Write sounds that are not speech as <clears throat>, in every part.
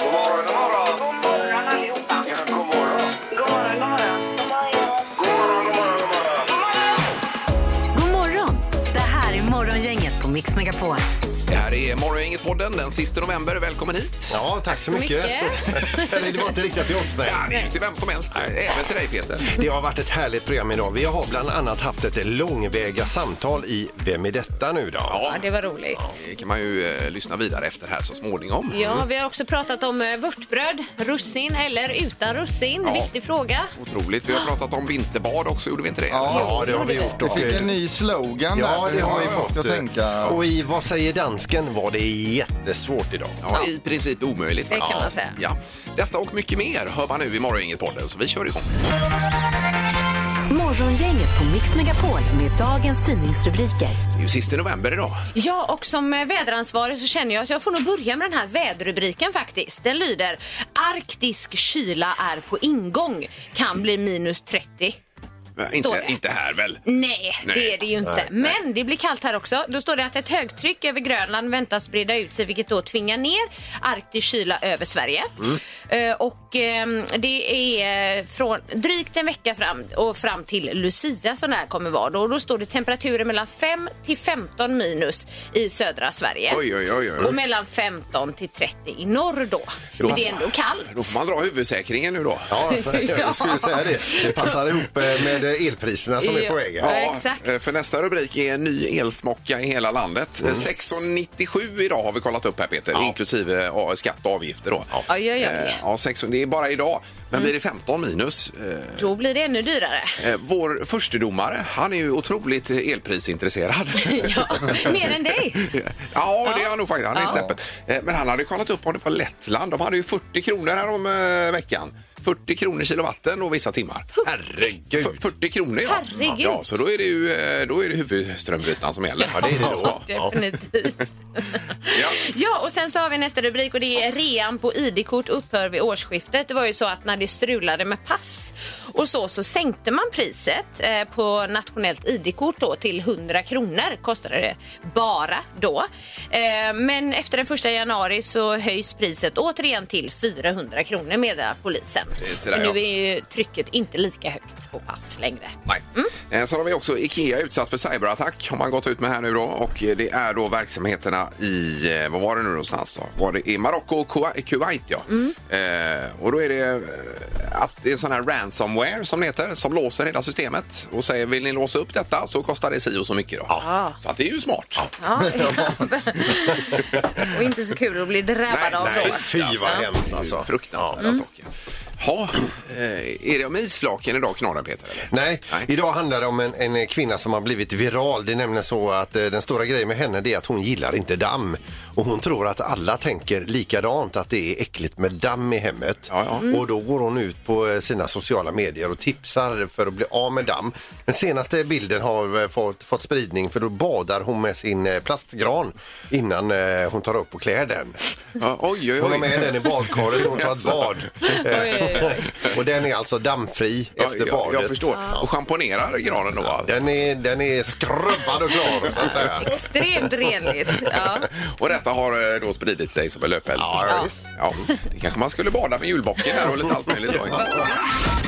God morgon, god morgon. God morgon allihopa. Ja, god morgon. God morgon, god morgon. God morgon, god morgon, god morgon. God morgon! Det här är Morgongänget på Mix Megapol. Det här är Morgongänget-podden den sista november. Välkommen hit! Ja, tack så mycket. <laughs> Eller det var inte riktat till oss, nej. Ja, det är ju till vem som helst, även till dig Peter. Det har varit ett härligt program idag. Vi har bland annat haft ett långväga samtal i Vem är detta nu då? Ja, det var roligt. Det kan man ju eh, lyssna vidare efter här så småningom. Ja, vi har också pratat om eh, vörtbröd, russin eller utan russin. Ja. Viktig fråga. Otroligt. Vi har pratat om vinterbad också, gjorde vi inte det? Ja, det har vi gjort. Vi Och, fick en ny slogan ja, där. det har vi Jag Ska fått. tänka. Och i Vad säger dansken var det jättesvårt idag. Ja, I princip omöjligt. Det kan Ja. man säga. Ja. Detta och mycket mer hör man nu i Morgongänget-podden, så vi kör igång. Morgongänget på Mix Megapol med dagens tidningsrubriker. Det är ju sista november idag. Ja, och som eh, väderansvarig så känner jag att jag får nog börja med den här väderrubriken faktiskt. Den lyder Arktisk kyla är på ingång. Kan bli minus 30. Eh, Inte, det. inte här väl? Nej, Nej. det är det ju inte. Men det blir kallt här också. Då står det att ett högtryck över Grönland väntas breda ut sig vilket då tvingar ner arktisk kyla över Sverige. Mm. Eh, och ehm, det är eh, från drygt en vecka fram och fram till Lucia som det här kommer vara. Då, och då står det temperaturer mellan 5 till 15 minus i södra Sverige. Oj, oj, oj. Och oj. mellan 15n till 30 i norr då. Men det är ändå Då kallt. får man dra huvudsäkringen nu då. Ja, jag skulle säga det. Det passar ihop eh, med elpriserna som är på väg. Ja, exakt. eh, För nästa rubrik är ny elsmocka i hela landet. Mm. Eh, 6,97 idag har vi kollat upp här Peter, inklusive eh, skatt och avgifter då. Ja, Ja, gör jag det. Mm. ja, 6, det är bara idag. Men blir det 15 minus? eh, Då blir det ännu dyrare. <laughs> eh, Vår förstedomare, han är ju otroligt eh, elprisintresserad. <laughs> Ja, mer än dig. Ja, det är han nog faktiskt. Han är Ja. snäppet. Eh, Men han hade kollat upp om det var Lettland. De hade ju 40 kronor här om eh, veckan. 40 kronor kilowatten och vissa timmar. Herregud! 40 kronor, ja. Herregud. Ja, så då är det ju eh, då är det huvudströmbrytaren som gäller. Ja, det är det då. <laughs> Definitivt. Ja. Ja, och sen så har vi nästa rubrik och det är rean på ID-kort upphör vid årsskiftet. Det var ju så att när det strulade med pass och så, så sänkte man priset eh, på nationellt ID-kort då till 100 kronor kostade det bara då. Eh, men efter den 1 januari så höjs priset återigen till 400 kronor meddelar polisen. Det är sådär, Så nu ja. är ju trycket inte lika högt på pass längre. Nej. Eh, Sen har vi också IKEA utsatt för cyberattack har man gått ut med här nu då och eh, det är då verksamheterna i, eh, vad var det nu någonstans då? Var det i Marocko och Kuwa- Kuwait ja. Eh, och då är det eh, att det är sån här ransomware som det heter som låser hela systemet och säger vill ni låsa upp detta så kostar det si och så mycket då. Så att det är ju smart. <laughs> Ja, och inte så kul att bli drabbad av nej, då. Fy vad hemskt alltså. Fruktansvärda saker. Ja, Mm. eh, är det om isflaken idag knorrar Peter? Eller? Nej, Nej. idag handlar det om en, en kvinna som har blivit viral. Det är nämligen så att eh, den stora grejen med henne det är att hon gillar inte damm. Och hon tror att alla tänker likadant, att det är äckligt med damm i hemmet. Ja, ja. Och då går hon ut på eh, sina sociala medier och tipsar för att bli av med damm. Den senaste bilden har eh, fått, fått spridning för då badar hon med sin eh, plastgran innan eh, hon tar upp och klär den. Ja, oj, oj, Hon har oj. med den i badkaret när hon tar ett <laughs> Jaså. bad. oj, och den är alltså dammfri Ja, efter jag, badet. jag förstår. Och schamponerar granen då? va? Den är, den är skrubbad och klar, så att säga. Extremt renligt. Ja. Och detta har eh, då spridit sig som en löpeld. Ja, ja, visst. ja. Det kanske man skulle bada med julbocken här och lite allt möjligt. Då.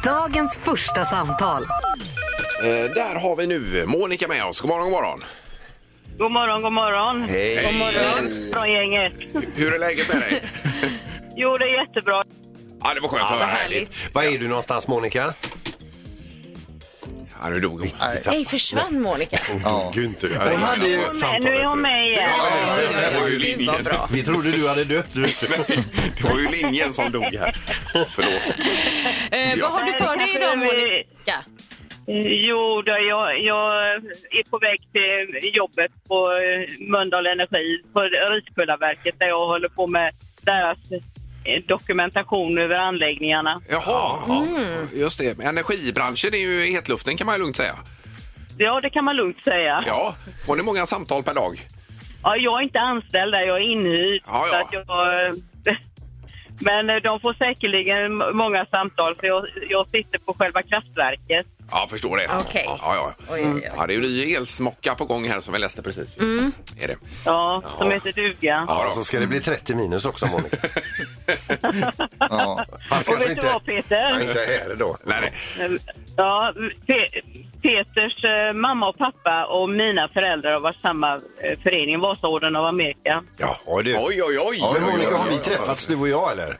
Dagens första samtal. Eh, Där har vi nu Monica med oss. God morgon, god morgon. God morgon, god morgon. Hej. God morgon. Från gänget. Hur är läget med dig? Jo, det är jättebra. Ja, det var skönt att höra. vad härligt. Var är du någonstans, Monica? Ja, nu dog hon. Nej, <laughs> försvann Monica. Ja. Mm, Gud, inte. Ja, det Hon hade ju- alltså- Men nu är hon med igen. Ja, ja, ja, det var ju Gud, linjen. vad bra. Vi trodde du hade dött. vet du. Det var ju linjen som dog här. Förlåt. Eh, vad har du för dig idag, Monica? Jo, då, jag, jag är på väg till jobbet på eh, Mölndal Energi, på Riskullaverket, där jag håller på med deras eh, dokumentation över anläggningarna. Jaha, just det. Energibranschen är ju i hetluften kan man ju lugnt säga. Ja, det kan man lugnt säga. Ja. Ja, får ni många samtal per dag? jag är inte anställd där, jag är inhyrd. Ja, ja. Så att <laughs> jag, eh, men eh, de får säkerligen många samtal, för jag, jag sitter på själva kraftverket. Ja, jag förstår det. Okej. Ja, ja. Oj, oj, Mm. oj. ja, det är ju en ny elsmocka på gång här som vi läste precis. Är det. Ja, som Ja. heter duga. Ja, Ja, då. så ska det bli 30 minus också, Monica. <laughs> Ja. Fast Och kanske vet du inte, vad Peter? Nej, inte här då. Nej, nej. Ja, Pe- Peters eh, mamma och pappa och mina föräldrar har varit samma eh, förening, Vasaorden av Amerika. Jaha, du. Oj, oj, oj. Ja, men Oj, oj, Monica, oj, har vi oj, oj. träffats du och jag eller?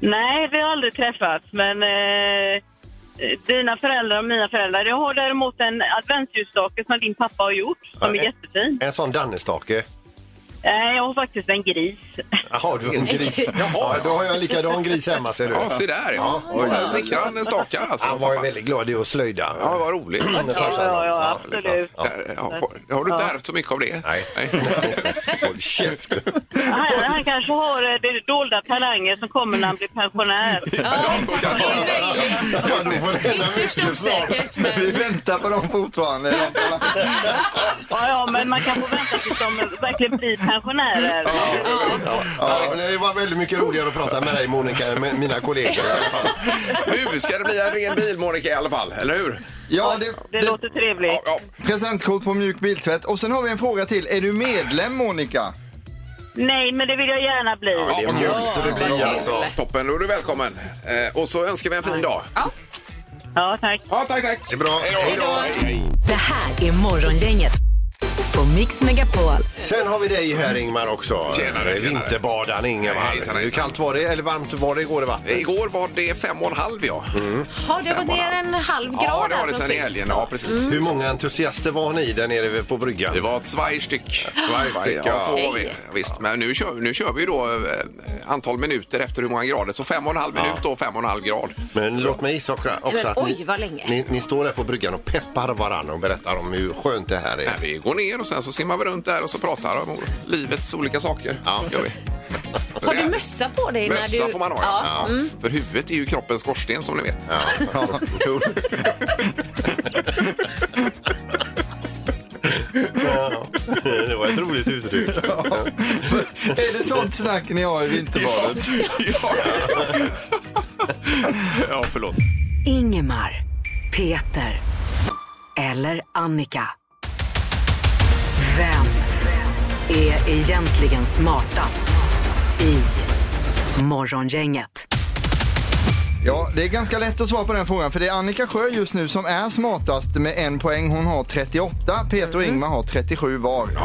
Nej, vi har aldrig träffats, men eh, eh, dina föräldrar och mina föräldrar. Jag har däremot en adventsljusstake som din pappa har gjort, som är Ja, en- jättefin. En sån dannestake. Nej, jag har faktiskt en gris. Jaha, du har en gris. Jaha. Ja, då har jag en likadan gris hemma ser du. Ja, se där ja. Oj, där snickrar han en stake alltså. Han var ju väldigt glad i att slöjda. Ja, vad roligt. Med Ja, farsan. ja, ja det är absolut. klart. Där, ja, har- har du inte ärvt så mycket av det? Nej. Håll käft. Han, han kanske har eh, det dolda talanger som kommer när han blir pensionär. Ja, så kan Det det är vara. väldigt Ja, då får det hända ytterst mycket snart. osäkert, men... Vi väntar på dem fortfarande. Ja, ja, men man kan få vänta tills de verkligen blir pensionärer. Ja, men det var väldigt mycket roligare att prata med dig Monica än med mina kollegor i alla fall. Nu ska det bli en ren bil, Monica, i alla fall. Eller hur? Ja, det, Det det, låter trevligt. Ja, ja. presentkort på mjuk biltvätt. Och sen har vi en fråga till. Är du medlem Monica? Nej, men det vill jag gärna bli. Ja, det Ja, måste det vad bli kul. alltså. Toppen, då är du välkommen. Eh, och så önskar vi en fin dag. Ja, tack. Ja, tack, tack. Det är bra. Hej då. Hej, hej. Det här är Morgongänget på Mix Megapol. Sen har vi dig här Ingmar också. Tjenare, tjenare. Vinterbadaren Ingmar. Hejsan, hejsan. Hur kallt var det? Eller varmt var det igår i vattnet? Igår var det fem och en halv, ja. Har det gått ner en halv grad Ja, det Mm. här var det från sen i sist? helgen. Ja, precis. Mm. Hur många entusiaster var ni där nere på bryggan? Det var ett svajstyck. Zweig, Ja, ja. två var vi. Visst, men nu kör, nu kör vi ju då eh, antal minuter efter hur många grader. Så fem och en halv minut och fem och en halv grad. Men låt mig gissa också Men att oj, ni, vad länge. ni, ni står där på bryggan och peppar varandra och berättar om hur skönt det här <laughs> Nej, är. vi går ner och sen så simmar vi runt där och så pratar om livets olika saker. Ja, gör vi. Så Har det du är- mössa på dig? Mössa när du... får man ha, ja. ja. Mm. För huvudet är ju kroppens skorsten som ni vet. Ja, jo. det var ett roligt <laughs> uttryck. <laughs> Är det sånt snack ni har i vinterbadet? ja. ja, förlåt. Ingemar, Peter eller Annika. Vem är egentligen smartast i Morgongänget? Ja, det är ganska lätt att svara på den frågan för det är Annika Sjö just nu som är smartast med en poäng. Hon har 38, Peter och Ingmar har 37 var. Eh, så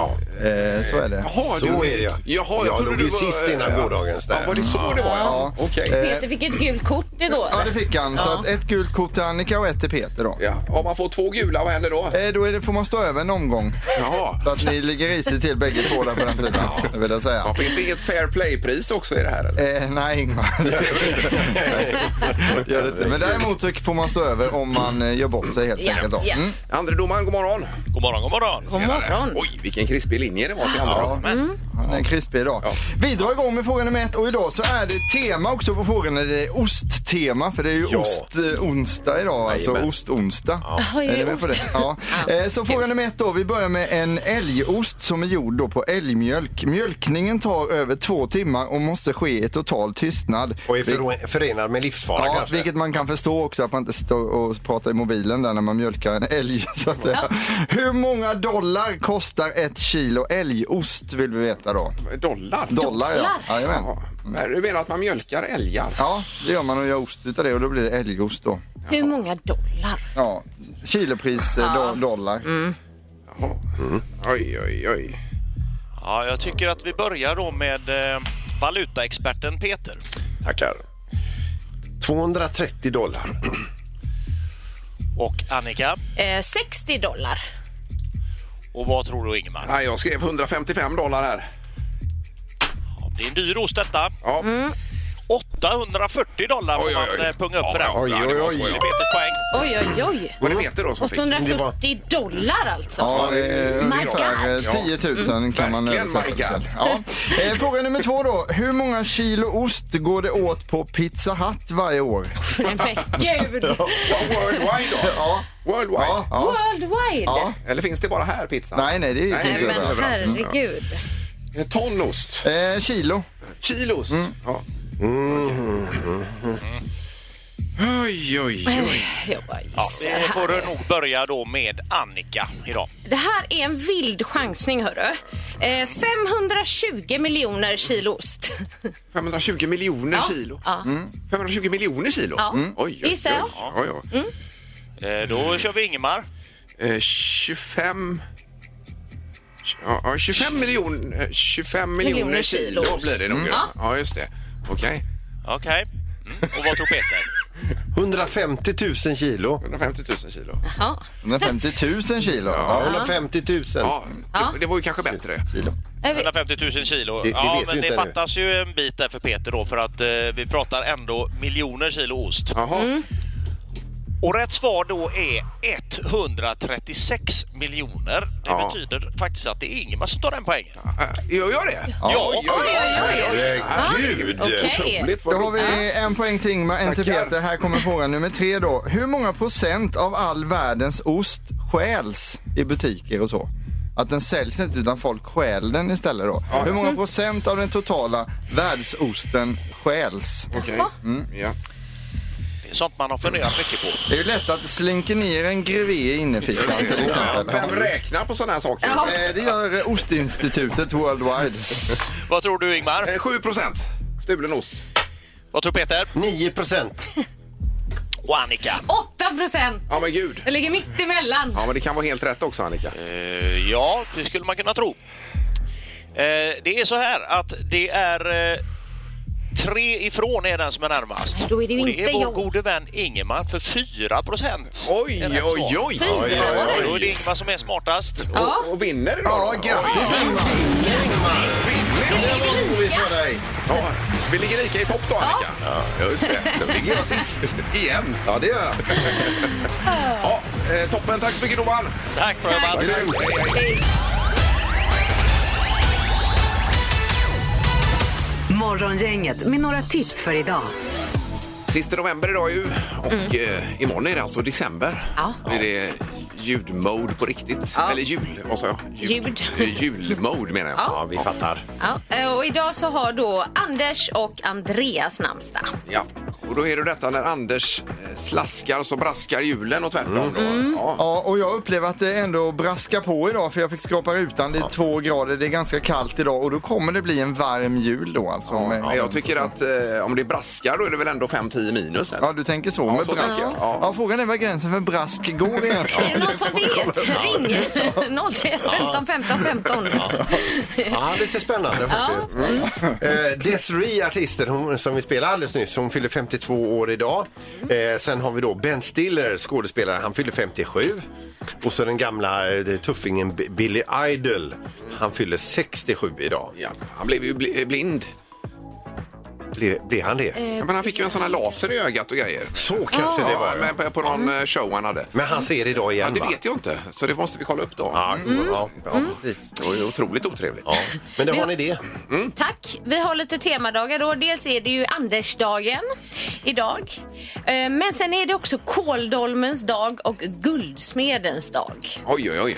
är det. Jaha, Så du, är det, ja. Jaha, jag Jag trodde låg du ju var... sist innan ja. gårdagens där. Eh. Ja, var det så det var? Ja. Ja. Okej. Peter fick ett gult kort igår. Ja, det fick han. Så Ja. att ett gult kort till Annika och ett till Peter då. Ja. Om man får två gula, vad händer då? Eh, då är det, får man stå över en omgång. Jaha. Så att ni ligger risigt till bägge två där på den sidan, vill jag säga. Ja, finns det inget fair play-pris också i det här? Eller? Eh, nej, Ingmar. <laughs> Gör det inte. Men däremot så får man stå över om man eh, gör bort sig helt Ja, enkelt. Då. ja. Mm. Andre domaren, god morgon. God morgon, god morgon. God morgon. Oj, vilken krispig linje det var till andra Ja, han är en krispig idag. Vi drar igång med fråga nummer ett och idag så är det tema också på frågorna. Det är osttema för det är ju Ja. ost, eh, onsdag idag, alltså Jajamän. ostonsdag. Jaha, är det ni med på ost? Ja. Ja. Eh, Så fråga nummer ett då. Vi börjar med en älgost som är gjord då på älgmjölk. Mjölkningen tar över två timmar och måste ske i total tystnad. Och är för, förenad med livsfara Ja, kanske? vilket man kan förstå också att man inte sitter och, och pratar i mobilen där när man mjölkar en älg <laughs> så att säga. Hur många dollar kostar ett kilo älgost vill vi veta då? Dollar? Dollar ja. Jajamän. Ja. Men du menar att man mjölkar älgar? Ja, det gör man och gör ost utav det och då blir det älgost då. Hur många dollar? Ja, kilopris eh, do- dollar. Mm. Oj, oj, oj. Ja, jag tycker att vi börjar då med eh, valutaexperten Peter. Tackar. 230 dollar. Och Annika. Eh, 60 dollar. Och vad tror du Ingemar? Nej, jag skrev 155 dollar här. Ja, det är en dyr ost detta. Ja. Mm. 840 dollar får Oj, oj, man oj. eh, punga upp för Ja, den. ja, det var så, ja. Det är Peters poäng. Oj, oj, oj. Var det Peter då som fick? 840 Det var- dollar alltså. Ja, det är My ungefär eh, God. 10 000 kan man Verkligen, översätta my det till. God. Ja. Eh, Fråga nummer två då. Hur många kilo ost går det åt på Pizza Hut varje år? <laughs> Men gud! Ja, Worldwide då? Ja. Worldwide? Ja, ja. Worldwide! Ja. Eller finns det bara här pizza? Nej, nej, det är- Nej, finns men överallt. herregud. Ja. Tonnost? Eh, kilo. Kilos? Ja. Oj, oj, oj. Jag bara Ja, gissar vi här. får nog börja då med Annika idag. Det här är en vild chansning, hörru. Eh, 520 miljoner kilo ost. 520 miljoner Ja, kilo. ja. 520 miljoner kilo? Ja. Mm. Oj, oj, Gissar jag. oj, oj, oj. Eh, Mm. Då kör vi Ingemar. Eh, 25... Ja, ja, 25 miljoner 25 miljoner, Miljoner kilo kilo. blir det nog. Mm. Ja. ja, just det. Okej. Okej. Mm. Och vad tror Peter? 150 000 kilo. 150 000 kilo. Ja. 150 000 kilo. Ja, Ja. 150 000. Ja, Ja. det, det var ju kanske bättre. Kilo. Eh, vi- 150 000 kilo. Det- det ja, vet vi men det inte ännu. fattas ju en bit där för Peter då för att eh, vi pratar ändå miljoner kilo ost. Jaha. Mm. Och rätt svar då är 136 miljoner. Det Ja. betyder faktiskt att det är Ingemar som tar den poängen. Äh, Gör jag det? Ja. Oj, oj, Herregud! Okej. Otroligt Då vad har vi en poäng till Ingmar, en till Tackar. Peter. Här kommer fråga nummer tre då. Hur många procent av all världens ost stjäls i butiker och så? Att den säljs inte utan folk stjäl den istället då. Hur många procent av den totala världsosten stjäls? Okej. Ja. Det är sånt man har funderat mycket på. Det är ju lätt att slinka ner en grevé i innerfickan till exempel. Vem räknar på sådana här saker? Ja. Eh, Det gör eh, Ostinstitutet Worldwide. Vad tror du Ingmar? Eh, 7 procent stulen ost. Vad tror Peter? 9 procent. Och Annika? 8 procent. Ja, men gud. Jag ligger mitt emellan. Ja, men det kan vara helt rätt också, Annika. Eh, ja, det skulle man kunna tro. Eh, det är så här att det är eh, tre ifrån är den som är närmast. då är det ju Och inte är vår jag. gode vän Ingemar för 4 procent. Oj, oj, oj. oj, Fyra oj, var Då är det Ingemar som är smartast. Ja. Och, och vinner idag. Ja, då. grattis Ingmar! Det är Vi lika. tar dig. Ja, vi ligger lika i topp då, Annika. Ja, just det. Då ligger jag sist. <laughs> Igen. Ja, det gör <laughs> jag. Ja, eh, toppen. Tack så mycket, domaren. Tack för att Hej, hej. Morgongänget med några tips för idag. Sista november idag ju och eh, imorgon är det alltså december. Mm. Ja. Då är det ljudmode på riktigt. Eller jul, vad sa jag? Ljud. Eh, Julmode menar jag. Ja, vi fattar. Ja, eh, och idag så har då Anders och Andreas namnsdag. Ja. Och då är det detta när Anders eh, slaskar så braskar julen och tvärtom. då. Mm. Ja. Ja, och jag upplever att det ändå braskar på idag för jag fick skrapa rutan. Det är två grader, det är ganska kallt idag och då kommer det bli en varm jul då alltså. med- Men jag tycker att eh, om det braskar då är det väl ändå 5-10 minus? Eller? Ja, du tänker så med så brask. tänker jag. Ja. Ja. frågan är var gränsen för brask går Är det egentligen. någon som vet? Ring 031 15 15 15. Ja, lite spännande faktiskt. Mm. Eh, Desiree, artisten hon, som vi spelade alldeles nyss, hon fyller 52 år idag. Mm. Eh, sen har vi då Ben Stiller, skådespelare, han fyller 57. Och så den gamla eh, tuffingen B- Billy Idol, han fyller 67 idag. Ja, han blev ju bli- eh, blind. Eh, Blir, blir han det? Ja, men han fick ju en sån här laser i ögat och grejer. Så kanske det Ja, var. men Men, på, på någon Mm. eh, show han hade. han ser idag Ja, igen det va? vet jag inte, så det måste vi kolla upp då. Ja, Mm. ja, ja, precis. Det var ju otroligt otrevligt. Ja. Men då har ni det. Mm. Tack. Vi har lite temadagar då. Dels är det ju Andersdagen idag. Eh, Men sen är det också Kåldolmens dag och Guldsmedens dag. Oj, oj, oj.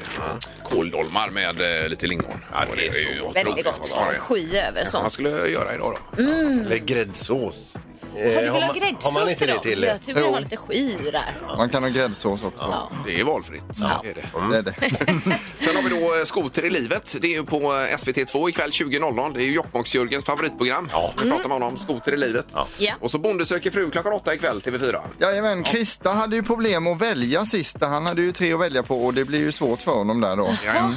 Kåldolmar med eh, lite lingon. Ja, det är ju otroligt Väldigt gott. Mm. Ja, det- Sky över Vad man sånt. skulle göra idag då? Eller gräddsås. Eh, Har du man- velat ha har man gräddsås inte till det dem? till? Jag tror vi har lite sky där. Man kan ha gräddsås också. Det är valfritt. Det är det. Det är det. Sen har vi då eh, Skoter i livet. Det är ju på eh, SVT2 ikväll 20.00. Det är ju Jokkmokks-Jörgens favoritprogram. Ja. Vi pratar med honom om Skoter i livet. Ja. Och så Bonde söker fru klockan åtta ikväll TV4. Jajamän, Krista hade ju problem att välja sist. Han hade ju tre att välja på och det blir ju svårt för honom där då. Ja,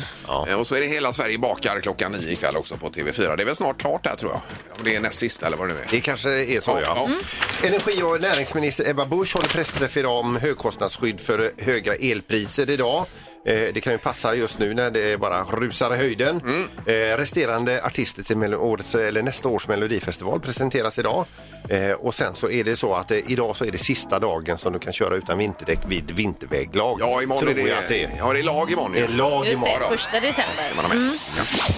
Eh, Och så är det Hela Sverige bakar klockan nio ikväll också på TV4. Det är väl snart klart där tror jag. Om det är näst sist eller vad det nu är. Det kanske är så, Ja, ja. ja. Mm. Energi och näringsminister Ebba Busch håller pressträff idag om högkostnadsskydd för höga elpriser idag. Eh, Det kan ju passa just nu när det bara rusar i höjden. Mm. Eh, Resterande artister till Melo- årets, eller nästa års Melodifestival presenteras idag. Eh, Och sen så är det så att eh, idag så är det sista dagen som du kan köra utan vinterdäck vid vinterväglag. Ja, imorgon Tror är det, jag att det är. Ja, det är lag imorgon. Det är lag Just imorgon. Mm. det, första december. Man har med sig. Ja.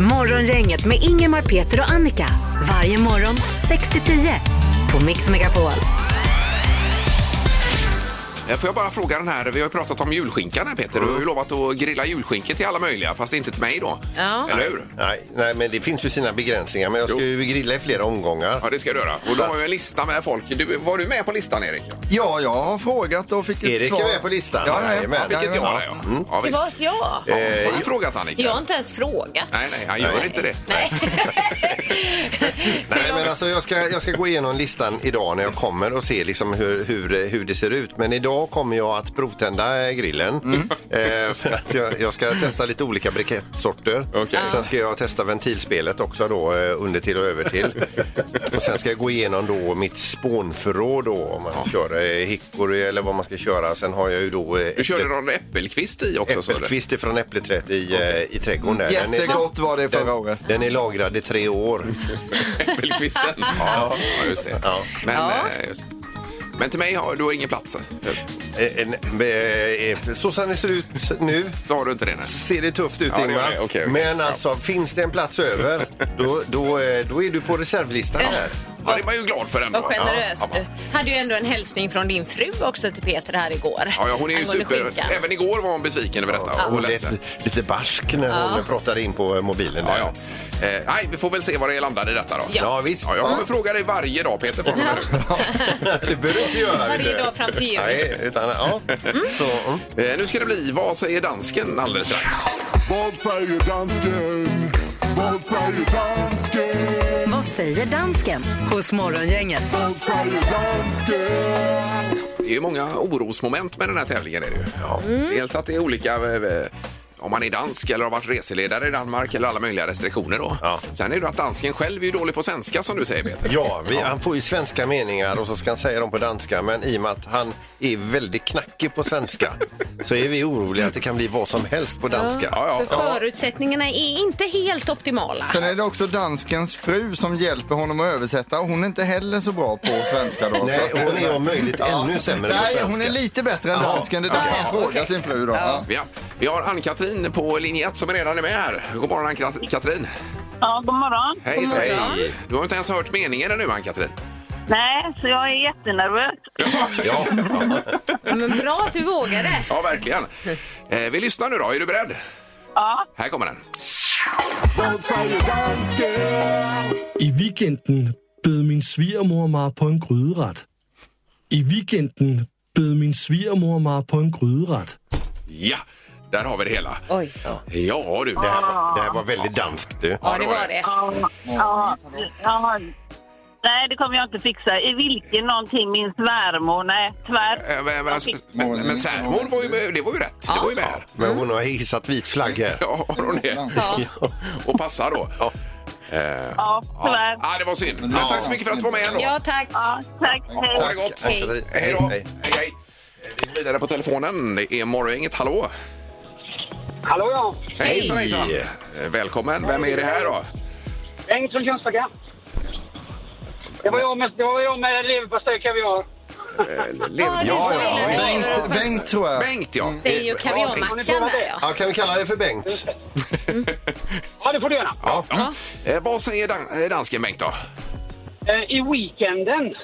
Morgongänget med Ingemar, Peter och Annika. Varje morgon 6 till 10 på Mix Megapol. Eh, Får jag bara fråga den här, vi har ju pratat om julskinkan här Peter. Du har ju Mm. lovat att grilla julskinka till alla möjliga, fast inte till mig då. Ja. Eller hur? Nej, nej, men det finns ju sina begränsningar. Men jag ska Jo. ju grilla i flera omgångar. Ja, det ska du göra. Och du har ju en lista med folk. Du, var du med på listan Erik? Ja, jag har frågat och fick ett Erik är svar. med på listan. Ja, ja, Jajamän. ja, Vilket jag jajamän. var, ja. Ja, Det var visst. Eh, ett ja. Ja, har du frågat Annika? Jag har inte ens frågat. Nej, nej, han gör inte det. Nej. Nej, men alltså, jag, ska, jag ska gå igenom listan idag när jag kommer och se liksom hur, hur, hur det ser ut. Men idag kommer jag att provtända eh, grillen. Mm. Eh, för att jag, jag ska testa lite olika brikettsorter. Okej. Sen ska jag testa ventilspelet också då, eh, under till och över till. och sen ska jag gå igenom då mitt spånförråd då, om man kör eh, hickory eller vad man ska köra. Sen har jag ju då eh, Du körde äpple- någon äppelkvist i också? sa du? äppelkvist ifrån äppleträdet i, eh, i trädgården. där. Den är- Jättegott var det förra den, året. den är lagrad i tre år. <laughs> Äppelkvisten? ja, just det. Ja. Men, Ja. eh, just. Men till mig har du har ingen plats? Eh, en- eh, eh, Så som det ser ut nu Så har du inte det? Nej. ser det tufft ut, Ja, det gör Ingmar. det. Okej, okej. Men alltså, finns det en plats över, <laughs> då, då, eh, då är du på reservlistan här. Ja, det var ju glad för ändå. Vad generös Ja, du. Hade ju ändå en hälsning från din fru också till Peter här igår. Ja, ja, hon är ju Angående super... skinkan. Även igår var hon besviken över detta. och Hon lät ledsen. lite barsk när hon pratade in på eh, mobilen. Där. Ja, ja. Eh, nej, vi får väl se var det landar i detta då. Ja. Ja, visst. Ja, jag kommer fråga dig varje dag Peter. från och med nu. det behöver du inte göra. vet Varje du. dag fram till jul. Nej, utan, ja. Så, mm. Eh, nu ska det bli Vad säger dansken alldeles strax. Vad säger dansken? Vad säger dansken? Vad säger dansken hos Morgongänget? Vad säger dansken? Det är ju många orosmoment med den här tävlingen. Är det ju. Dels att det är olika... eh, Om man är dansk eller har varit reseledare i Danmark eller alla möjliga restriktioner då. Ja. Sen är det att dansken själv är ju dålig på svenska som du säger Peter. Ja, vi, han får ju svenska meningar och så ska han säga dem på danska. Men i och med att han är väldigt knackig på <laughs> svenska så är vi oroliga att det kan bli vad som helst på danska. Ja, Så ja. förutsättningarna är inte helt optimala. Sen är det också danskens fru som hjälper honom att översätta och hon är inte heller så bra på svenska då. Nej, så att- hon är om möjligt ännu sämre på Nej, svenska. hon är lite bättre än Ja. dansken. Det är därför han frågar sin fru då. Ja. Ja. Vi har Ann-Katrin på linje 1 som redan är med här. God morgon Ann-Katrin. Ja, god morgon. Hej, God hej. morgon. Du har inte ens hört meningen ännu Ann-Katrin. Nej, så jag är jättenervös. Ja, Men bra att du vågade. Ja, verkligen. Eh, vi lyssnar nu då. Är du beredd? Ja. Här kommer den. Vad säger dansken? I weekenden bød min svigermor mig på en gryderet. I weekenden bød min svigermor mig på en gryderet. Ja, där har vi det hela. Oj. Ja, du. det här, var- det här var väldigt danskt du. Ja, det var det. Ja, ja, ja. Nej, det kommer jag inte fixa. I vilken någonting min svärmor? Nej, tvär. Eh, Men, men, men, men svärmor var ju, det var ju rätt. Det var ju med här. Men hon har hissat vit flagg här. Ja, har hon det? Ja. Och passar då. Ja. Ja, Ja, tyvärr. ah, det var synd. Men tack så mycket för att du var med ändå. Ja, tack. Ja, tack. Hej. Ha det gott. Hej. Hej då. Hej, Hej. hej. Vi går vidare på telefonen. Det är Morgongänget. Hallå! Hallå ja! Hejsan, hejsan! Eh, Välkommen. Vem är det här då? Bengt från Kungsbacka. Det var jag med, det var jag med leverpastej och kaviar. Lev- Ja, ja, ja, ja. Bengt, Bengt tror jag. Bengt, ja. Det är ju Eh, Bengt. kaviarmatcha med. Ja. Ja, kan vi kalla dig för Bengt? Ja, det får du göra. Ja. Eh, vad säger dan- eh, dansken Bengt då? Eh, I weekenden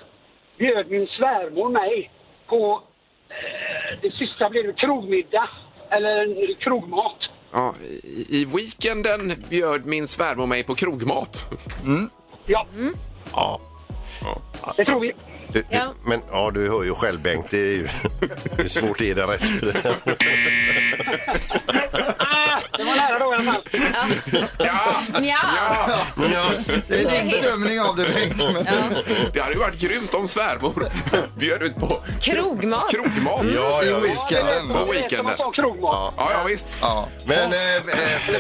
bjöd min svärmor mig på, eh, det sista blev det krogmiddag, eller en krogmat. Ja, i, I weekenden bjöd min svärmor mig på krogmat. Ja, Ja. det tror vi. Du, du, Ja. Men ja, du hör ju själv Bengt, det är ju hur svårt är det rätt? Ah, det var nära då i alla fall. Ja! Ja. <laughs> ja! Ja, Det är din bedömning av det Bengt. Men... Det hade ju varit grymt om svärmor <laughs> bjöd ut på Krogmat. krogmat. ja, I ja. weekenden. Det är På som man weekenden. sa, krogmat. Ja, ja visst. Ja. Men, eh, eh,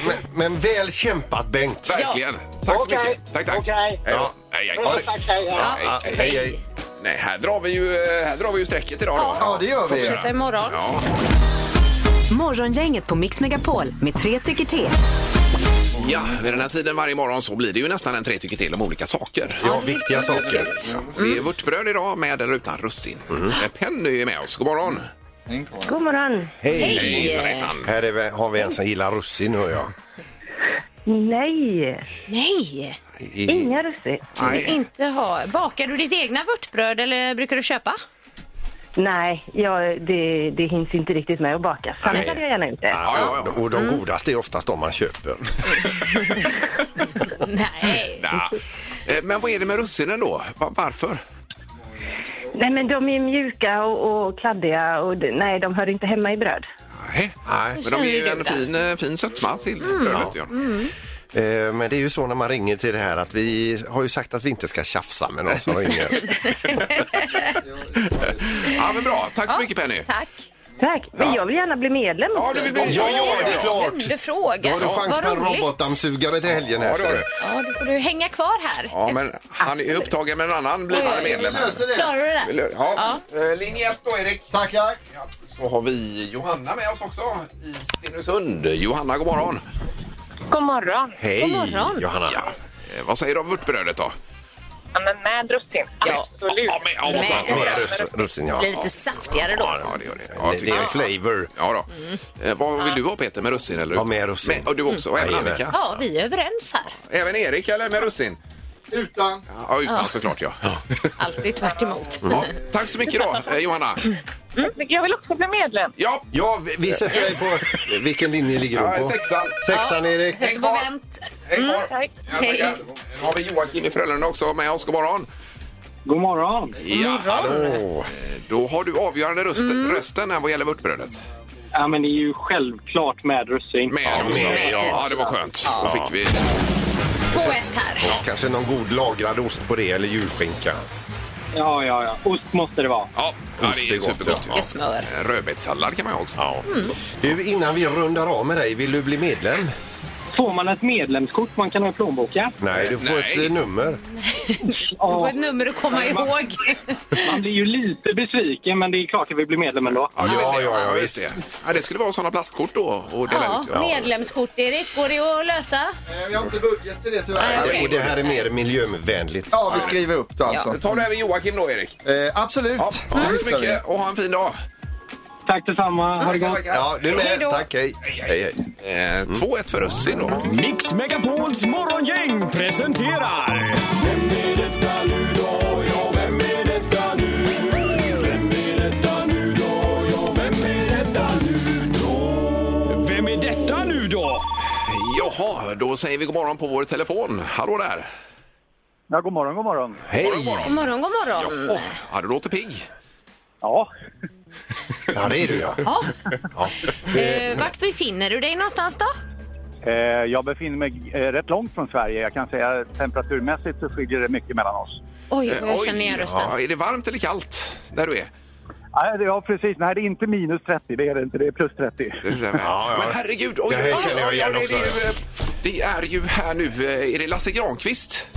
men, men väl kämpat Bengt. Verkligen. Tack så Okej. mycket. Tack, tack. Okej. Hej då. Hej, hej. Ja, tack, hej, hej. Ja, hej, hej. Hej, hej. Nej, här drar vi ju, eh, här drar vi ju strecket idag då. ja, det gör vi. Fortsätter imorgon. Ja. Morgongänget på Mix Megapol med tre tycker till. ja, vid den här tiden varje morgon så blir det ju nästan en tre tycker till om olika saker. Ja, viktiga saker. Det är vörtbröd idag med eller utan russin. Eh, Penny är med oss. God morgon. Bengt. Hej. Hejsan, hejsan. Här är vi, har vi en som gillar russin hör jag. Nej, Nej, I- inga russin. Nej. inte ha. Bakar du ditt egna vörtbröd eller brukar du köpa? Nej, jag, det, det hinns inte riktigt med att baka. Sallad Nej. hade jag gärna gjort det. Ja, ja, Och de Mm. godaste är oftast de man köper. Nej. Nah. Eh, Men vad är det med russinen då? Va- Varför? Nej, men de är mjuka och, och kladdiga och d- nej, de hör inte hemma i bröd. Nej, men de är ju en fin, eh, fin sötma till brödet. Ja. Eh, Men det är ju så när man ringer till det här att vi har ju sagt att vi inte ska tjafsa med någon som ringer. <laughs> ja, men bra. Tack så mycket Penny. Tack. Tack, men jag vill gärna bli medlem också. Ja, du vill bli- Ja, ja, det är klart. Glömde fråga. Då har du chans på Vad en roligt. robotdammsugare till helgen här. Ja, det har ser du. Ja, då får du hänga kvar här. Ja, men han är upptagen med en annan blivande medlem. här. Klarar du det? Vill du- Ja. Eh, Linje 1 då, Erik. Tackar. Ja, så har vi Johanna med oss också i Stenungsund. Johanna, god morgon. God morgon. Hej, God morgon. Johanna. Ja. Eh, Vad säger du om vörtbrödet då? Ja, men med russin. Absolut. Ja, men, vad skönt att höra. Russ- Russin, Blir lite saftigare då. Ja, det gör det. Ja, Det är en flavor. Ja, då. Eh, vad vill du ha Peter med russin? Eller? Ja, med russin. Men, och du också, och även Annika? Ja, vi är överens här. Även Erik eller med russin? Utan. Ja, utan Ja. såklart ja. Alltid tvärt emot. ja. Tack så mycket då, eh, Johanna. Jag vill också bli medlem. Ja, ja vi, vi sätter dig på... <laughs> Vilken linje ligger du Ja, på? sexan. Sexan, Erik. Häng på vänt. Mm. Tack. Hej. Nu har vi Joakim i Frölunda också med oss. God morgon. God morgon. Ja, hallå. Eh, Då har du avgörande rösten, rösten här vad gäller vörtbrödet. Ja, men det är ju självklart med russin. Med ja, också. Ja, det var skönt. Då fick vi... 2-1 här. Ja, Kanske någon god lagrad ost på det eller julskinka. Ja, ja, ja. Ost måste det vara. Ja, ja, det är ju supergott. Mycket smör. Eh, Rödbetssallad kan man ju också. Mm. Du, innan vi rundar av med dig, vill du bli medlem? Får man ett medlemskort man kan ha i plånboken? Nej, du får ett eh, nummer. Du får ett nummer att komma ihåg. Man blir ju lite besviken, men det är klart att vi blir medlem ändå. Ja, ja, ja, ja, visst. Det. Ja, det skulle vara sådana plastkort då och dela Ja, ut. medlemskort, Erik. Går det att lösa? Jag har inte budget till det Nej, tyvärr. okej. Och det här är mer miljövänligt. Ja, vi skriver upp då alltså. Ja. Tar du även Joakim då, Erik? Eh, absolut. Mm. Tack så mycket och ha en fin dag. Tack detsamma. Ha det gott. Ja, du Hej med. då. Tack, hej. hej, hej. Eh, 2-1 för russin då. Mix Megapols morgongäng presenterar... Vem är detta nu då? Ja, vem är detta nu? Vem är detta nu då? Ja, vem är detta nu då? Vem är detta nu då? Jaha, då säger vi god morgon på vår telefon. Hallå där! Ja, god morgon, god morgon. Hej! God God morgon. morgon, god morgon. Ja, ja, du låter pigg. <laughs> Ja. Ja, det är du ja. Ja. ja. Eh, vart befinner du dig någonstans då? Eh, Jag befinner mig eh, rätt långt från Sverige. Jag kan säga att temperaturmässigt så skiljer det mycket mellan oss. Eh, Oj, vad jag känner igen ja, rösten. är det varmt eller kallt där du är? Nej, det- Ja, precis. Nej, det är inte minus 30. Det är det inte. Det är plus 30. ja. Men herregud! Oj, Det här oj, känner jag oj, igen oj, det, är också. ju, eh, det är ju här nu. eh, Är det Lasse Granqvist?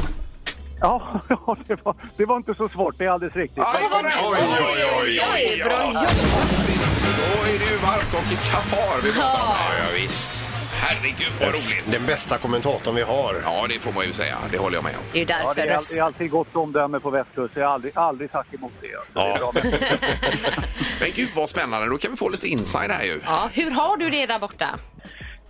Ja, ja, det var, det var inte så svårt. Det är alldeles riktigt. Oj, oj, oj, oj! Bra jobbat! Fantastiskt! Då är det ju varmt och i Qatar vi pratar om. Ja, visst. Herregud, vad roligt! Den bästa kommentatorn vi har. Ja, det får man ju säga. Det håller jag med om. Det är ju Ja, det, därför är, all- det är rösten... alltid gott omdöme på västkusten. Jag har aldrig, aldrig sagt emot det. Så det är bra med- Men gud vad spännande, då kan vi få lite inside här ju. Ja, hur har du det <laughs> där borta?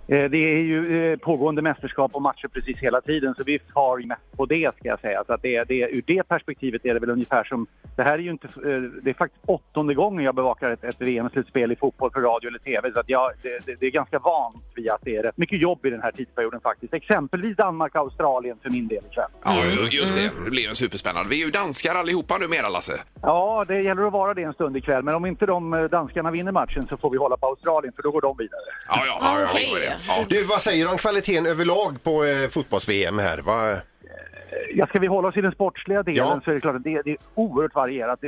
Eh, Det är ju eh, pågående mästerskap och matcher precis hela tiden så vi far ju mest på det ska jag säga. Så att det, det, ur det perspektivet är det väl ungefär som, det här är ju inte, eh, det är faktiskt åttonde gången jag bevakar ett, ett VM-slutspel i fotboll för radio eller TV så att jag, det, det, det är ganska vant vid att det är rätt mycket jobb i den här tidsperioden faktiskt. Exempelvis Danmark och Australien för min del ikväll. Ja, Mm. ju- just det. Det blir ju spännande. Vi är ju danskar allihopa numera, Lasse. Ja, det gäller att vara det en stund ikväll men om inte de <laughs> eh, danskarna vinner matchen så får vi hålla på Australien för då går de vidare. Ja, ja, ja, ja, visst är det. ja. Du, vad säger du om kvaliteten överlag på eh, fotbolls-VM här? Va? Ja, ska vi hålla oss i den sportsliga delen Ja. så är det klart att det, det är oerhört varierat. Det,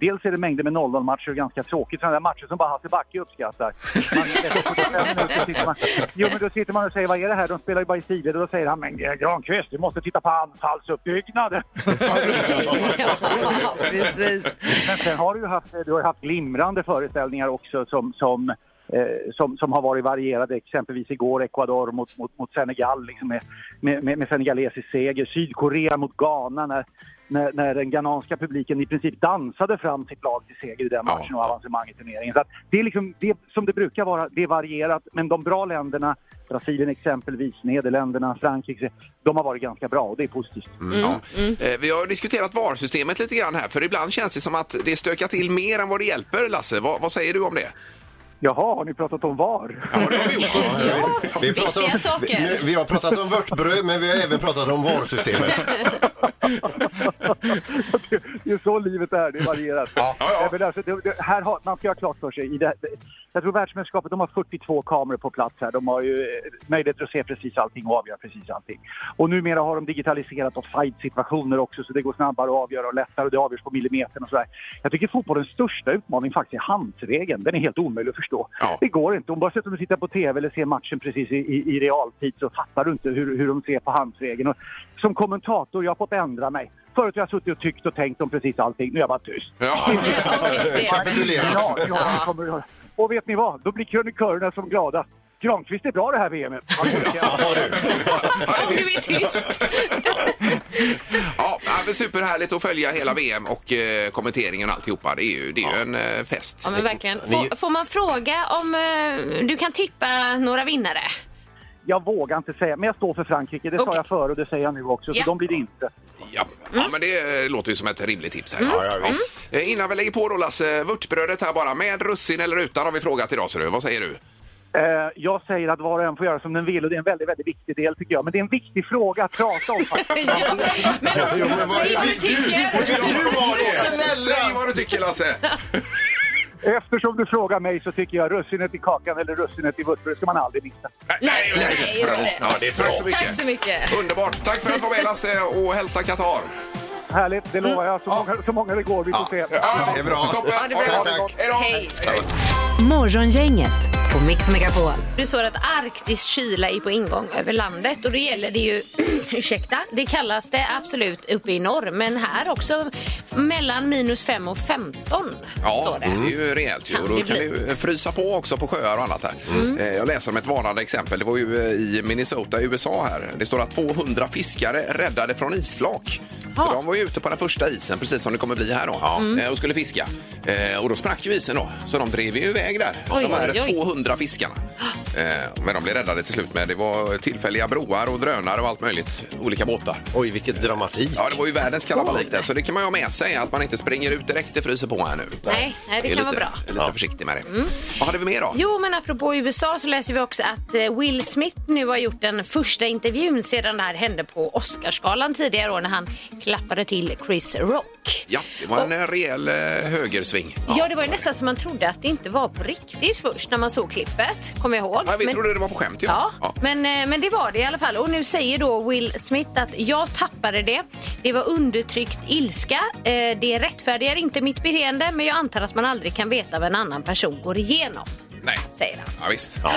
dels är det mängder med 0-0-matcher och ganska tråkigt. Sådana där matcher som bara Hasse Backe uppskattar. Man, efter 45 minuter sitter man, jo, men då sitter man och säger vad är det här? De spelar ju bara i sidled och då säger han men eh, Granqvist, du måste titta på anfallsuppbyggnaden. Ja, precis. Men sen har du ju haft, du har ju haft glimrande föreställningar också som, som eh, som, som har varit varierade. Exempelvis igår Ecuador mot, mot, mot Senegal liksom med, med, med, med senegalesisk seger. Sydkorea mot Ghana när, när, när den ghananska publiken i princip dansade fram sitt lag till seger i den matchen och avancemanget i turneringen. Så att det är liksom det, som det brukar vara, det är varierat. Men de bra länderna, Brasilien exempelvis, Nederländerna, Frankrike, de har varit ganska bra och det är positivt. Mm, ja. Eh, Vi har diskuterat VAR-systemet lite grann här, för ibland känns det som att det stökar till mer än vad det hjälper, Lasse. Vad, vad säger du om det? Jaha, har ni pratat om VAR? Vi, pratar om, viktiga saker. vi, vi har pratat om vörtbröd men vi har även pratat om VAR-systemet. det är så livet är, det är varierat. Eh, Men alltså, det, det, här har, man ska ha klart för sig, i det, det- jag tror världsmästerskapet, de har 42 kameror på plats här. De har ju eh, möjlighet att se precis allting och avgöra precis allting. Och numera har de digitaliserat offside-situationer också så det går snabbare att avgöra och lättare och det avgörs på millimetern och sådär. Jag tycker fotbollens största utmaning faktiskt är handsregeln. Den är helt omöjlig att förstå. Det går inte. Oavsett om du tittar på TV eller ser matchen precis i, i, i realtid så fattar du inte hur, hur de ser på handsregeln. Och som kommentator, jag har fått ändra mig. Förut har jag suttit och tyckt och tänkt om precis allting. Nu är jag bara tyst. <laughs> Ja, ja, det kommer att göra. Och vet ni vad? Då blir krönikörerna som glada. Granqvist är bra det här VMet. Om du är tyst. Ja, ja, men superhärligt att följa hela VM och eh, kommenteringen och alltihopa. Det är ju, det är ju en eh, fest. Ja, men verkligen. Ni- Får, får man fråga om eh, du kan tippa några vinnare? Jag vågar inte säga, men jag står för Frankrike. Det sa jag förr och det säger jag nu också. Ja. Så de <laughs> blir det inte. Ja, Mm. ja, men det eh, låter ju som ett rimligt tips här. Mm. Ja, ja, Eh, Innan vi lägger på då Lasse, vörtbrödet här bara. Med russin eller utan har vi frågat idag, ser du. Vad säger du? Eh, jag säger att var och en får göra som den vill och det är en väldigt, väldigt viktig del tycker jag. Men det är en viktig fråga att prata om <laughs> faktiskt. Säg vad du tycker! Säg vad du tycker Lasse! <laughs> Eftersom du frågar mig så tycker jag russinet i kakan eller russinet i vörtbröd ska man aldrig missa. Nej, Nej, just det. Ja, det är bra. Tack så mycket. Tack så mycket. Underbart. Tack för att du var med Lasse och hälsa Qatar. Mm. Härligt, det lovar jag. Så, många, så många det går, vi får se. Ja, det är bra. Toppen. Ja, det är Ha bra. det gott. Hej. Morgongänget på Mix Megapol. Du såg att arktisk kyla är på ingång över landet och det gäller det ju, <clears throat> ursäkta, det kallas det absolut uppe i norr men här också mellan minus 5 och 15. Ja, det är ju rejält. Ju. Och då Kan kan det det Mm. ju frysa på också på sjöar och annat. Här. Eh, Jag läser om ett varnande exempel. Det var ju eh, i Minnesota i USA. här. Det står att 200 fiskare räddade från isflak. För de var ju ute på den första isen, precis som det kommer bli här då, eh, och skulle fiska. Eh, Och då sprack ju isen då, så de drev ju iväg där. Oj, de här oj, oj. 200 fiskarna. Eh, Men de blev räddade till slut. Men det var tillfälliga broar och drönare och allt möjligt. Olika båtar. <laughs> Oj, vilket dramatik. Ja, det var ju världens kalabalik där. Så det kan man ju ha med sig, att man inte springer ut direkt det fryser på här nu. Nej, nej, det är kan lite, vara bra. Mm. är lite försiktig med det. Vad hade vi mer då? Jo, men apropå USA så läser vi också att eh, Will Smith nu har gjort den första intervjun sedan det här hände på Oscarsgalan tidigare år när han klappade till Chris Rock. Ja, det var en och... rejäl eh, högersving. Ja, det var ju nästan som man trodde att det inte var på riktigt först när man såg klippet, kommer jag ihåg. Ja, vi trodde det var på skämt, ju. Ja, Ja. Men, eh, men det var det i alla fall. Och nu säger då Will Smith att jag tappade det. Det var undertryckt ilska. Eh, Det rättfärdigar inte mitt beteende, men jag antar att man aldrig kan veta vad en annan person går igenom, Nej. säger han. Ja, visst. Ja.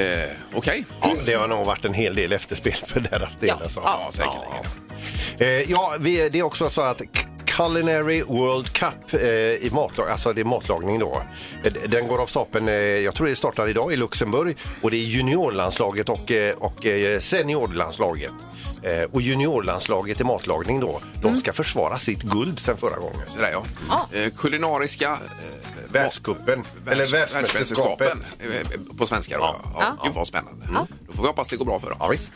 Eh, Okej. Ja, det har nog varit en hel del efterspel för deras del. Ja, alltså. ja, säkerligen. Eh, ja, vi, det är också så att C- Culinary World Cup eh, i matlag, alltså det är matlagning då. Eh, d- Den går av stapeln, eh, jag tror det startar idag i Luxemburg och det är juniorlandslaget och, eh, och eh, seniorlandslaget. Eh, och juniorlandslaget i matlagning då, de ska försvara sitt guld sen förra gången. Sådär ja. Eh, kulinariska... Eh, Världscupen. Eller världsmästerskapet. världsmästerskapen, eh, På svenska då. Ja. Ja. Gud vad spännande. Då får vi hoppas det går bra för dem. Ja, visst.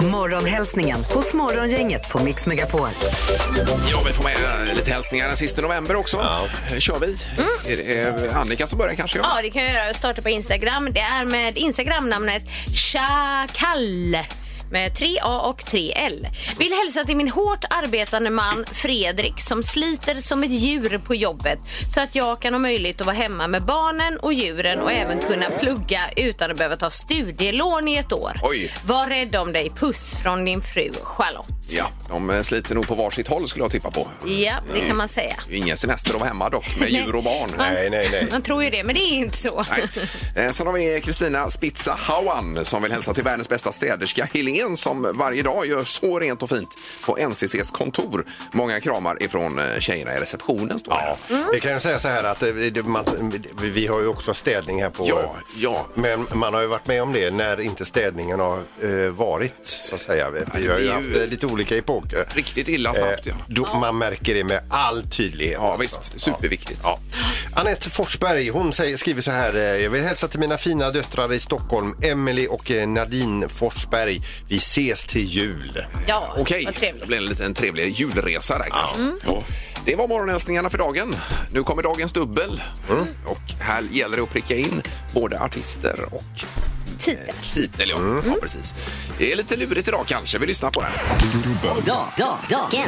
Morgonhälsningen hos Morgongänget på Mix Megapol. Ja, vi får med eh, lite hälsningar den sista november också. Eh, kör vi. Mm. Är det, eh, Annika som börjar kanske? Ja, det kan jag göra. Jag startar på Instagram. Det är med Instagramnamnet Chakall med 3 A och 3 L. Vill hälsa till min hårt arbetande man Fredrik som sliter som ett djur på jobbet så att jag kan ha möjlighet att vara hemma med barnen och djuren och även kunna plugga utan att behöva ta studielån i ett år. Oj. Var rädd om dig. Puss från din fru Charlotte. Ja, de eh, sliter nog på varsitt håll skulle jag tippa på. Ja, det Mm. kan man säga. Ingen semester att vara hemma dock med Nej. djur och <laughs> barn. Man- Man tror ju det, men det är inte så. Eh, Sen har vi Kristina Spitza Hauan som vill hälsa till världens bästa städerska Helene Norén som varje dag gör så rent och fint på NCCs kontor. Många kramar ifrån eh, tjejerna i receptionen står ja. Det kan jag säga så här att eh, det- man, vi- vi har ju också städning här på... Ja, ja. Men man har ju varit med om det när inte städningen har eh, varit, så att säga. Vi, vi har ju blir haft ju- eh, lite olika epoker. Riktigt illa snabbt, ja. Då, man märker det med all tydlighet. Ja, visst. Superviktigt. Ja. Anette Forsberg hon säger, skriver så här. eh, Jag vill hälsa till mina fina döttrar i Stockholm, Emily och eh, Nadine Forsberg. Vi ses till jul. Ja, Okej, vad det blir en liten trevlig julresa där kanske. Ja. Det var morgonhälsningarna för dagen. Nu kommer dagens dubbel. Mm. Och här gäller det att pricka in både artister och titel. titel. Ja. Mm. Ja, precis. Det är lite lurigt idag kanske. Vi lyssnar på den. Dag, dag, dagen.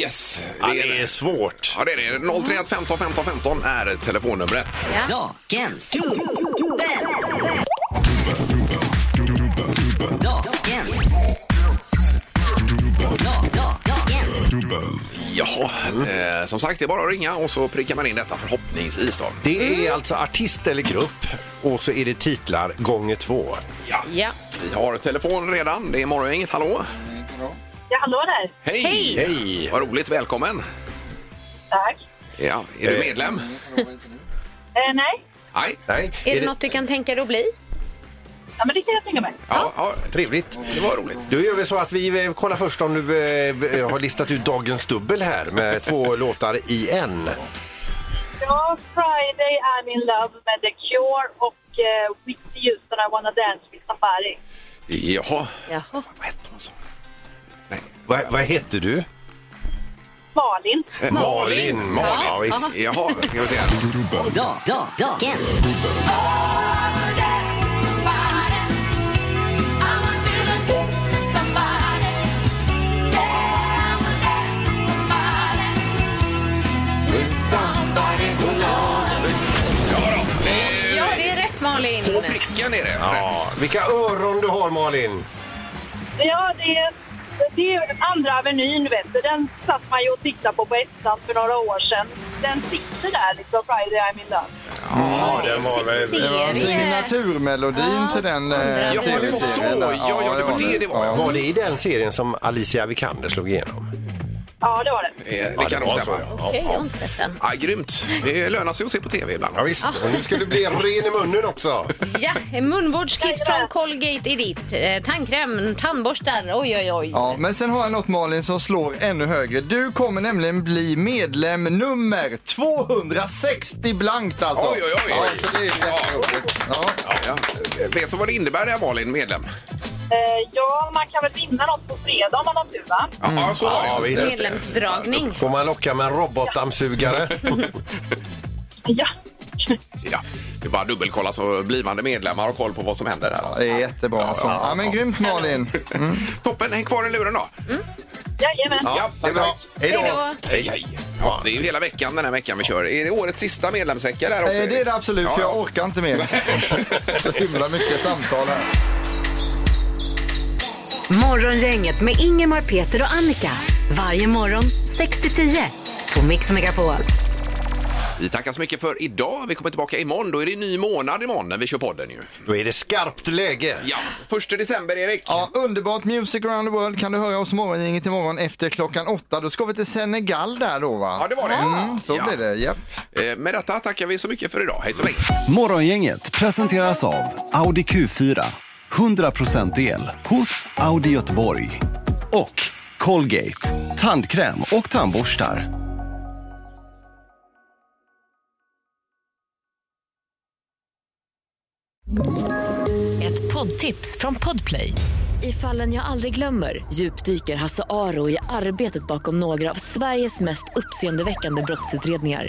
Yes! Det är, det är svårt. Ja, det är Mm. det. 031 15 15 15 är telefonnumret. Dagens dubbel. Dagens. Dag, dag, dagen. Jaha, eh, som sagt, det är bara att ringa och så prickar man in detta förhoppningsvis. Då. Det är alltså artist eller grupp och så är det titlar gånger två. Ja. ja. Vi har telefon redan. Det är Morgongänget. Hallå! Ja, hallå där. Hej! Hej! Vad roligt. Välkommen! Tack. Ja, är du medlem? Eh, nej, Nej. Nej. Är, det, något du kan tänka dig att bli? ja, men det kan jag tänka mig. Ja, trevligt. Det var roligt. Då gör vi så att vi eh, kollar först om du eh, har listat ut dagens dubbel här med två <laughs> låtar i en. Ja, Friday I'm in love med The Cure och uh, Whitney Houston I wanna dance with somebody. Jaha. Jaha. Va, vad heter du? Malin. Eh, Malin! Malin. Ja, visst. Jaha, ska vi se här. Dag, dag, dagen. Ja, det är rätt Malin. pricken är det. Ja. Vilka öron du har Malin! Ja, det är, det är andra avenyn, vet du. Den satt man ju och tittade på på ettan för några år sedan. Den sitter där liksom, Friday I'm in love. Ja, den var väl... Det var signaturmelodin till den eh, Ja, det var så. tv-serien. Ja, ja, det var det det var. Var det i den serien som Alicia Vikander slog igenom? Ja, det var det. Eh, Ja, Det det kan var nog så, stämma. ja. Ja, Okej, jag har ja. inte sett den. Ja, grymt. Det lönar sig att se på tv ibland. Ja, visst. Och nu ska du bli ren i munnen <laughs> också. Ja, en munvårdskit från Colgate är ditt. Eh, Tandkräm, tandborstar, oj oj oj. Ja, men sen har jag något Malin som slår ännu högre. Du kommer nämligen bli medlem nummer 260 blankt alltså. Oj, oj, oj. Ja, så det är jätteroligt. Ja. Ja. Vet du vad det innebär det här Malin, medlem? Eh, ja, man kan väl vinna något på fredag om man har tur, va? Ja, så var det. Ja, visst. Medlemsdragning. Får man locka med en robotdammsugare? <laughs> Ja. Ja, det är bara att dubbelkolla så blivande medlemmar har koll på vad som händer. Här. Ja, det är jättebra. alltså. Ja, men grymt Malin. Toppen, häng kvar i luren då. Jajamän. Ja, det är bra. Hej då. Hej då. Hej, hej. Ja, det är ju hela veckan den här veckan vi kör. Är det årets sista medlemsvecka? Där också? Eh, Det är det absolut, för Ja, jag orkar inte mer. <laughs> Så himla mycket samtal här. Morgongänget med Ingemar, Peter och Annika. Varje morgon 6 till 10 på Mix Megapol. Vi tackar så mycket för idag. Vi kommer tillbaka imorgon. Då är det ny månad imorgon när vi kör podden ju. Då är det skarpt läge. Ja, första december Erik. Ja, underbart. Music around the world kan du höra oss morgongänget imorgon efter klockan åtta. Då ska vi till Senegal där då va? Ja, det var det. Mm, så Ja. blir det, japp. Eh, Med detta tackar vi så mycket för idag. Hej så länge. Morgongänget presenteras av Audi Q4. 100% el hos Audi Göteborg. Och Colgate. Tandkräm och tandborstar. Ett poddtips från Podplay. I fallen jag aldrig glömmer djupdyker Hasse Aro i arbetet bakom några av Sveriges mest uppseendeväckande brottsutredningar.